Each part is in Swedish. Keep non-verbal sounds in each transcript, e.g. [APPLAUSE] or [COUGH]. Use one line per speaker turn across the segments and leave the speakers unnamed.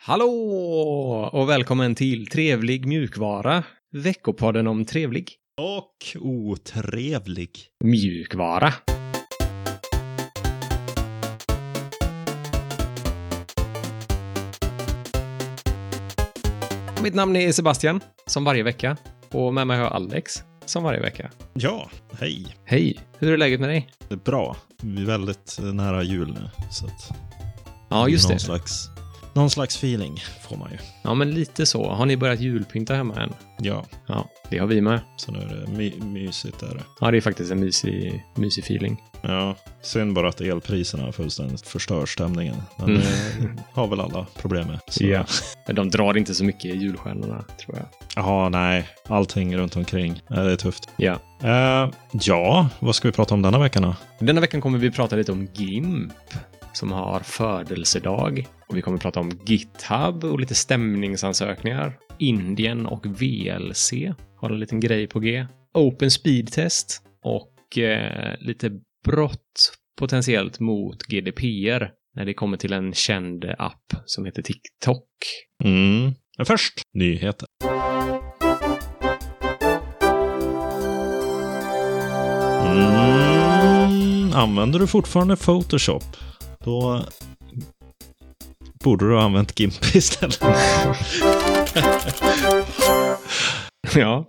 Hallå och välkommen till Trevlig mjukvara. Veckopodden om trevlig
Och otrevlig.
mjukvara. Mitt namn är Sebastian, som varje vecka. Och med mig har jag Alex, som varje vecka.
Ja, hej.
Hej! Hur är läget med dig?
Det är bra. Vi är väldigt nära jul nu. Så att
Ja, just
någon
det.
Slags, någon slags feeling får man ju.
Ja, men lite så. Har ni börjat julpynta hemma än?
Ja,
Ja, det har vi med.
så nu är det my mysigt. Är det.
Ja, det är faktiskt en mysig, mysig feeling.
Ja, synd bara att elpriserna fullständigt förstör stämningen. Men
Mm.
det har väl alla problem med. Så.
Ja. De drar inte så mycket i julstjärnorna, tror jag.
Jaha, nej. Allting runt omkring. Ja, det är tufft.
Ja.
Eh, ja, vad ska vi prata om denna veckan då?
Denna veckan kommer vi prata lite om GIMP, som har födelsedag. Och vi kommer prata om GitHub och lite stämningsansökningar. Indien och VLC har en liten grej på G. Open Speed Test och eh, lite brott potentiellt mot GDPR när det kommer till en känd app som heter TikTok. [LAUGHS]
Mm. Men först, nyheter. Mm. Använder du fortfarande Photoshop? Då borde du ha använt GIMP [LAUGHS] istället.
ja,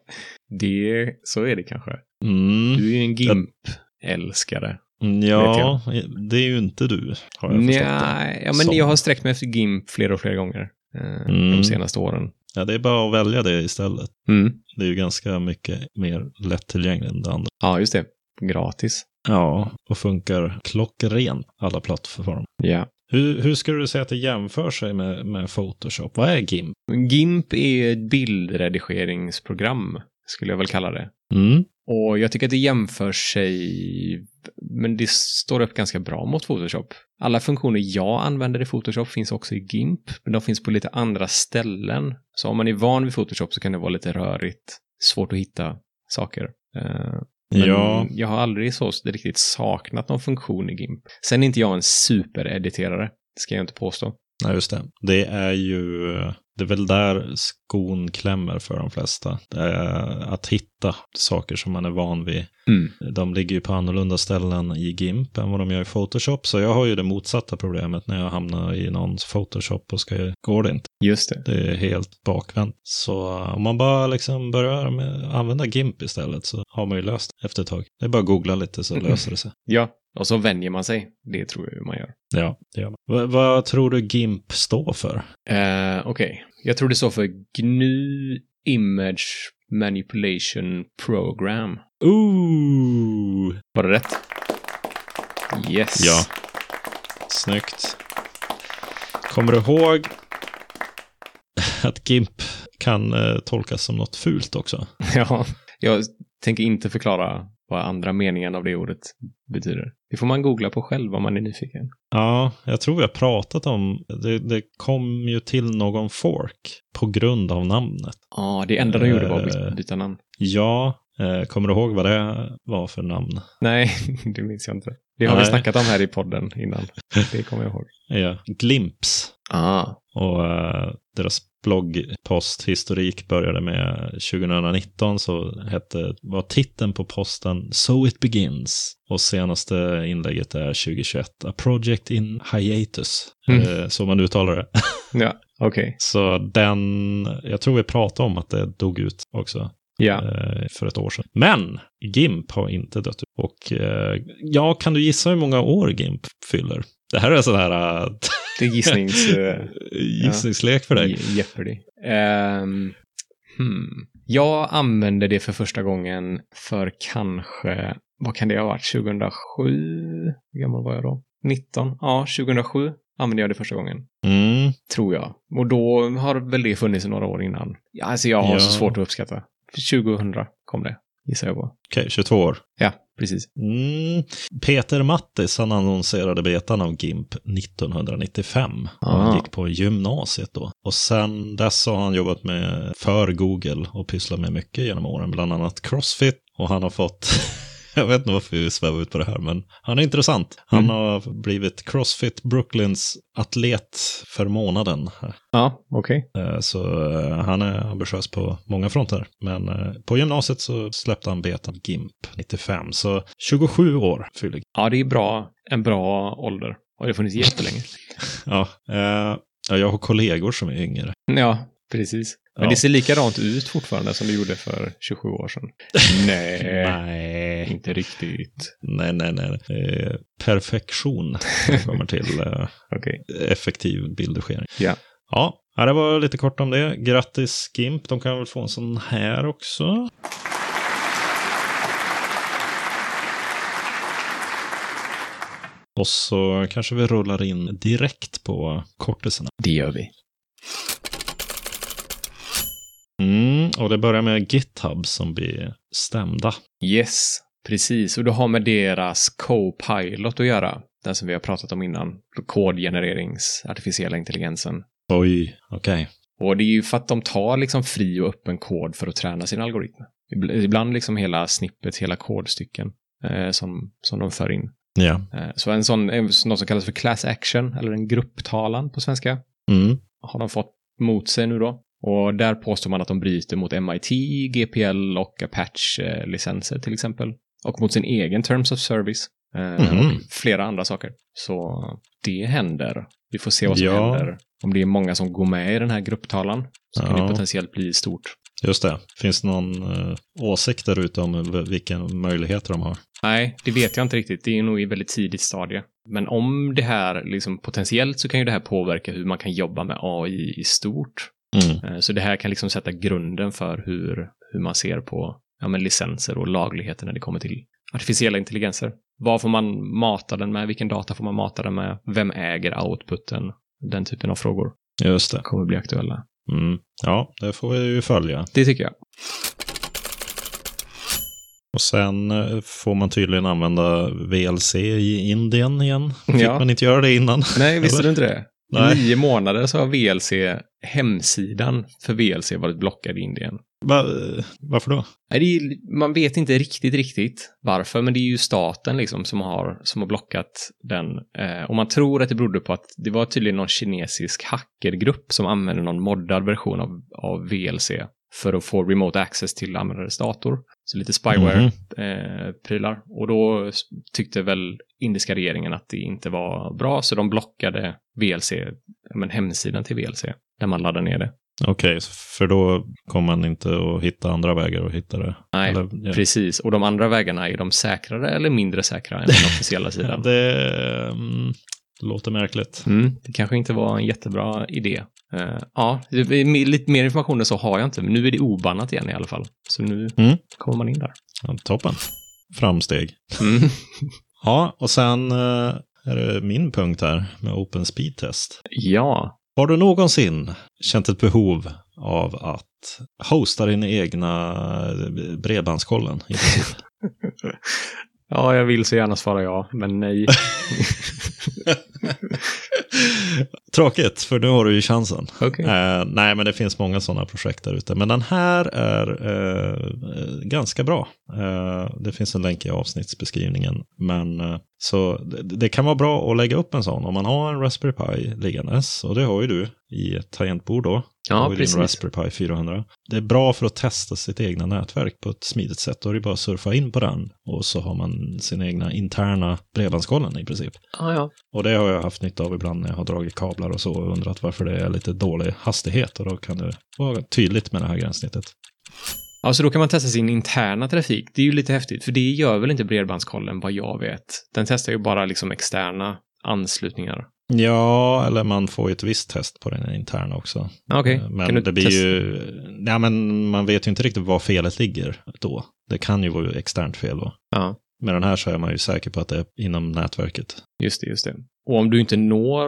det, så är det kanske.
Mm.
Du är ju en GIMP-älskare.
Ja, det är ju inte du, har jag förstått det.
Nej, ja, men
Som-
jag har sträckt mig efter GIMP fler och fler gånger eh, de
Mm.
senaste åren.
Ja, det är bara att välja det istället.
Mm.
Det är ju ganska mycket mer lättillgängligt än det andra.
Ja, just det. Gratis.
Ja, och funkar klockrent alla plattformar.
Ja.
Hur, hur skulle du säga att det jämför sig med, med Photoshop? Vad är GIMP?
GIMP är ett bildredigeringsprogram, skulle jag väl kalla det.
Mm.
Och jag tycker att det jämför sig, men det står upp ganska bra mot Photoshop. Alla funktioner jag använder i Photoshop finns också i GIMP, men de finns på lite andra ställen. Så om man är van vid Photoshop så kan det vara lite rörigt, svårt att hitta saker. Eh, Men
Ja,
jag har aldrig så riktigt saknat någon funktion i GIMP. Sen är inte jag en superediterare. Det ska jag inte påstå.
nej, just det. Det är ju, det är väl där skon klämmer för de flesta. Det är Att hitta saker som man är van vid.
Mm.
De ligger ju på annorlunda ställen i GIMP än vad de gör i Photoshop. Så jag har ju det motsatta problemet när jag hamnar i någons Photoshop och ska, går det inte.
Just det.
Det är helt bakvänt. Så om man bara liksom börjar med, använda GIMP istället så har man ju löst det efter ett tag. Det är bara att googla lite så löser det sig.
Ja, och så vänjer man sig. Det tror jag man gör.
Ja, det gör man. Va- vad tror du GIMP står för?
Eh, Okej, jag tror det står för GNU Image Manipulation Program.
Ooh!
Var det rätt? Yes.
Ja. Snyggt. Kommer du ihåg att GIMP kan eh, tolkas som något fult också?
[LAUGHS] ja. Jag tänker inte förklara vad andra meningen av det ordet betyder. Det får man googla på själv om man är nyfiken.
Ja, jag tror vi har pratat om det. Det kom ju till någon fork på grund av namnet.
Ja, det enda de gjorde var att
Eh.
by- byta namn.
Ja, eh, kommer du ihåg vad det var för namn?
Nej, [LAUGHS] det minns jag inte. Det har vi
Nej.
snackat om här i podden
[LAUGHS]
innan. Det kommer jag ihåg.
Ja, Glimps.
Ah.
Och eh, deras bloggposthistorik började med 2019 så hette, var titeln på posten So it begins. Och senaste inlägget är 2021, A project in hiatus.
Mm.
Eh, Så man uttalar det. [LAUGHS]
Ja, okej.
Så den, jag tror vi pratade om att det dog ut också
Ja.
eh, för ett år sedan. Men GIMP har inte dött ut. Och eh, ja, kan du gissa hur många år GIMP fyller? Det här är sån här eh,
Det är
[LAUGHS]
gissnings... eh,
gissningslek för dig.
Je- Jeopardy. Ehm, hmm. Jag använde det för första gången för kanske, vad kan det ha varit, 2007? Hur gammal var jag då? 19? Ja, 2007 använde jag det första gången.
Mm.
Tror jag. Och då har väl det funnits i några år innan. Ja, Alltså jag har
Ja.
så svårt att uppskatta. 2000 kom det, gissar jag på.
Okej, 22 år.
Ja, precis.
Mm. Peter Mattis, han annonserade betan av GIMP 1995. Och
Ah.
Han gick på gymnasiet då. Och sen dess har han jobbat med, för Google och pysslat med mycket genom åren, bland annat Crossfit. Och han har fått [LAUGHS] Jag vet inte varför vi svävar ut på det här, men han är intressant. Han har blivit Crossfit Brooklyns atlet för månaden.
Ja, okej.
Eh, Så eh, han är ambitiös på många fronter. Men eh, på gymnasiet så släppte han betan GIMP 95, så 27 år fyller
Ja, det är bra. En bra ålder. Har det funnits jättelänge.
[LAUGHS] Ja, eh, ja, jag har kollegor som är yngre.
[LAUGHS] Ja, precis. Men
Ja.
det ser likadant ut fortfarande som det gjorde för 27 år [LAUGHS] sedan. Nej,
Nej,
inte riktigt.
nej, nej. nej. Eh, perfektion när det kommer till eh,
Okej.
effektiv bildskärning.
Ja.
Ja, ja, det var lite kort om det. Grattis GIMP, de kan väl få en sån här också. Och så kanske vi rullar in direkt på kortisarna.
Det gör vi.
Mm, och det börjar med GitHub som blir stämda.
Yes, precis. Och det har med deras co-pilot att göra. Den som vi har pratat om innan. Kodgenererings, artificiella intelligensen.
Oj, okej.
Och det är ju för att de tar liksom fri och öppen kod för att träna sina algoritmer. Ibl- Ibland liksom hela snippet, hela kodstycken eh, som, som de för in.
Ja.
Eh, så en sån, en, något som kallas för class action, eller en grupptalan på svenska,
Mm.
har de fått mot sig nu då. Och där påstår man att de bryter mot MIT, GPL och Apache-licenser till exempel. Och mot sin egen Terms of Service. Eh,
Mhm.
Och flera andra saker. Så det händer. Vi får se vad som
Ja.
händer. Om det är många som går med i den här grupptalan så kan det
Ja.
potentiellt bli stort.
Just det. Finns det någon eh, åsikt där ute om v- vilka möjligheter de har?
Nej, det vet jag inte riktigt. Det är nog i väldigt tidigt stadie. Men om det här, liksom potentiellt så kan ju det här påverka hur man kan jobba med AI i stort.
Mm.
Eh, Så det här kan liksom sätta grunden för hur, hur man ser på ja, men licenser och lagligheter när det kommer till artificiella intelligenser. Vad får man mata den med? Vilken data får man mata den med? Vem äger outputen? Den typen av frågor
Just det.
kommer bli aktuella.
Mm. Ja, det får vi ju följa.
Det tycker jag.
Och sen eh, får man tydligen använda VLC i Indien igen. Fick
[LAUGHS] Ja.
man inte göra det innan?
Nej, visste
Eller?
du inte det?
Nej.
Nio månader så har VLC, hemsidan för VLC varit blockad i Indien.
Va, eh, varför då?
Nej, det är, man vet inte riktigt, riktigt varför, men det är ju staten liksom som har, som har blockat den. Eh, och man tror att det berodde på att det var tydligen någon kinesisk hackergrupp som använde någon moddad version av, av VLC för att få remote access till användares dator. Så lite
Mhm.
spyware-prylar. eh, och då s- tyckte väl indiska regeringen att det inte var bra, så de blockade VLC, ja, men hemsidan till VLC, där man laddar ner det.
Okej, för då kommer man inte att hitta andra vägar att hitta det.
Nej,
Eller, ja.
Precis, och de andra vägarna, är de säkrare eller mindre säkra [LAUGHS] än den officiella
Ja,
sidan?
Det mm, låter märkligt.
Mm, det kanske inte var en jättebra idé. Eh, ja, det är mer- lite mer information än så har jag inte, men nu är det obannat igen i alla fall. Så nu
Mm.
kommer man in där.
Ja, toppen. Framsteg.
Mm. [LAUGHS]
Ja, och sen eh, är det min punkt här med Open Speed Test.
Ja,
Har du någonsin känt ett behov av att hosta din egna eh, Bredbandskollen? i princip?
ja, jag vill så gärna svara ja, men nej.
Tråkigt, för nu har du ju chansen.
[LAUGHS] Okej.
Eh, nej, men det finns många sådana projekt där ute. Men den här är eh, eh, ganska bra. Eh, det finns en länk i avsnittsbeskrivningen. Men, eh, så det, det kan vara bra att lägga upp en sån om man har en Raspberry Pi liggandes. Och det har ju du i ett tangentbord då. Du har
Ja,
ju din
precis.
Raspberry Pi 400. Det är bra för att testa sitt egna nätverk på ett smidigt sätt. Då är det bara att surfa in på den och så har man sina egna interna bredbandskollen i princip.
Ja, ja.
Och det har jag haft nytta av ibland när jag har dragit kablar och så och undrat varför det är lite dålig hastighet. Och då kan det vara tydligt med det här gränssnittet.
Ja, så Alltså, då kan man testa sin interna trafik. Det är ju lite häftigt, för det gör väl inte Bredbandskollen vad jag vet. Den testar ju bara liksom externa anslutningar.
Ja, eller man får ju ett visst test på den interna också.
Ah, Okej,
Eh, Men
kan du
det blir
testa?
ju... Nej, men man vet ju inte riktigt var felet ligger då. Det kan ju vara externt fel då.
Ja.
Med den här så är man ju säker på att det är inom nätverket.
Just det, just det. Och om du inte når,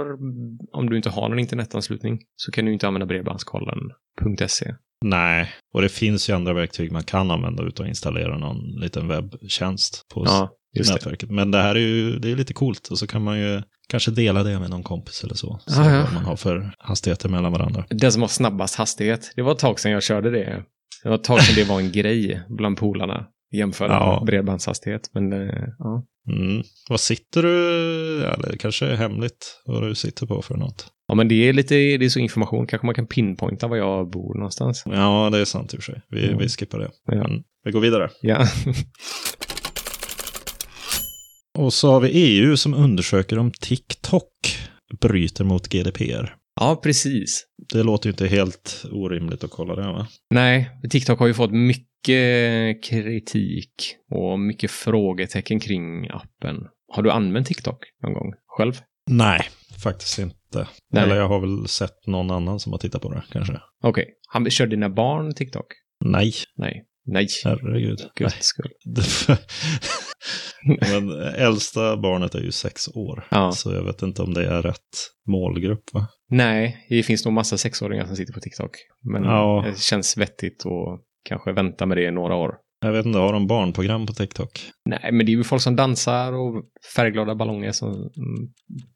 om du inte har någon internetanslutning så kan du inte använda bredbandskollen.se.
Nej, och det finns ju andra verktyg man kan använda utan att installera någon liten webbtjänst på
Ja, just det.
nätverket. Men det här är ju det är lite coolt och så kan man ju kanske dela det med någon kompis eller så. Så
Ah, Ja, ja.
vad man har för hastigheter mellan varandra.
Den som har
[LAUGHS]
snabbast hastighet, det var ett tag sedan jag körde det. Det var ett tag sedan det var en grej bland polarna. jämförd
Ja.
med bredbandshastighet. Men eh, ja.
Mm. Vad sitter du, eller det kanske är hemligt vad du sitter på för något.
ja, men det är lite, det är så information. Kanske man kan pinpointa var jag bor någonstans.
Ja, det är sant i och för sig. Vi,
Mm.
vi skippar det.
Ja.
Men vi går vidare.
Ja,
Och så har vi EU som undersöker om TikTok bryter mot GDPR.
ja precis.
Det låter ju inte helt orimligt att kolla det, va?
Nej, TikTok har ju fått mycket kritik och mycket frågetecken kring appen. Har du använt TikTok någon gång själv?
Nej, faktiskt inte.
Nej.
Eller jag har väl sett någon annan som har tittat på det, kanske.
Okej, han kör dina barn TikTok?
Nej,
Nej. Nej.
herregud. [LAUGHS]
Guds skull.
Nej. Men äldsta barnet är ju sex år.
Ja.
Så jag vet inte om det är rätt målgrupp, va?
Nej, det finns nog massa sexåringar som sitter på TikTok. Men
Ja.
det känns vettigt att kanske vänta med det i några år.
Jag vet inte, har de barnprogram på TikTok?
Nej, men det är ju folk som dansar och färgglada ballonger som mm,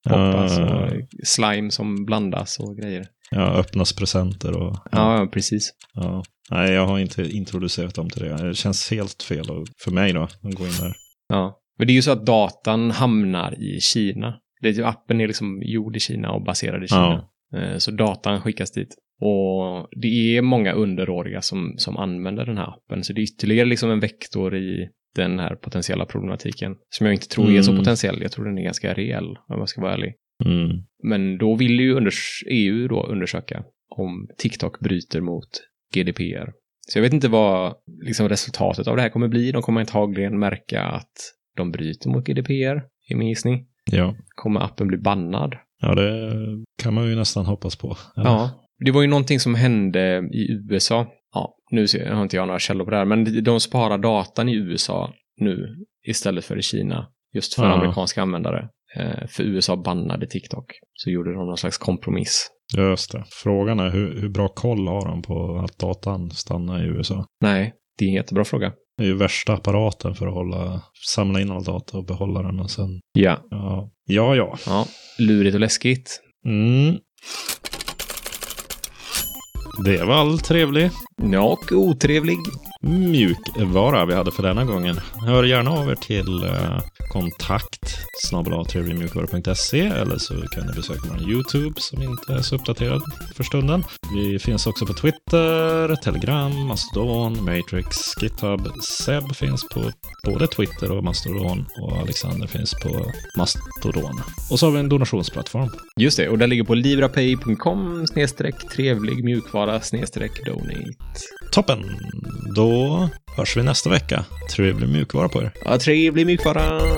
poppas
Ja.
och slime som blandas och grejer.
Ja, öppnas presenter och...
Ja, ja, precis.
Ja. Nej, jag har inte introducerat dem till det. Det känns helt fel och- för mig då, att gå in där.
Ja. Men det är ju så att datan hamnar i Kina. Det är ju, appen är liksom gjord i Kina och baserad i Kina. Eh, Så datan skickas dit. Och det är många underåriga som, som använder den här appen. Så det är ytterligare liksom en vektor i den här potentiella problematiken. Som jag inte tror är så
Mm.
potentiell. Jag tror den är ganska reell, om jag ska vara ärlig.
Mm.
Men då vill ju unders- EU då undersöka om TikTok bryter mot GDPR. Så jag vet inte vad liksom, resultatet av det här kommer bli. De kommer antagligen märka att de bryter mot GDPR, i min gissning.
Ja.
Kommer appen bli bannad?
ja, det kan man ju nästan hoppas på. Eller?
Ja. Det var ju någonting som hände i USA. Ja, nu ser- har inte jag några källor på det här, men de sparar datan i USA nu istället för i Kina. Just för
Ja.
amerikanska användare. Eh, För USA bannade TikTok. Så gjorde de någon slags kompromiss.
Just det. Frågan är hur, hur bra koll har de på att datan stannar i USA?
Nej, det är en jättebra fråga.
Det är ju värsta apparaten för att hålla, samla in all data och behålla den och sen,
Ja.
ja, ja. ja.
ja. Lurigt och läskigt.
Mm. Det var all trevlig
Ja, och otrevlig.
mjukvara vi hade för denna gången. Hör gärna av er till eh, kontakt trevligmjukvara.se eller så kan ni besöka vår YouTube som inte är så uppdaterad för stunden. Vi finns också på Twitter, Telegram, Mastodon, Matrix, GitHub. Seb finns på både Twitter och Mastodon och Alexander finns på Mastodon. Och så har vi en donationsplattform.
Just det, och den ligger på livrapay.com snedstreck trevlig mjukvara snedstreck donate.
Toppen! Då hörs vi nästa vecka. Trevlig mjukvara på er.
Ja, trevlig mjukvara.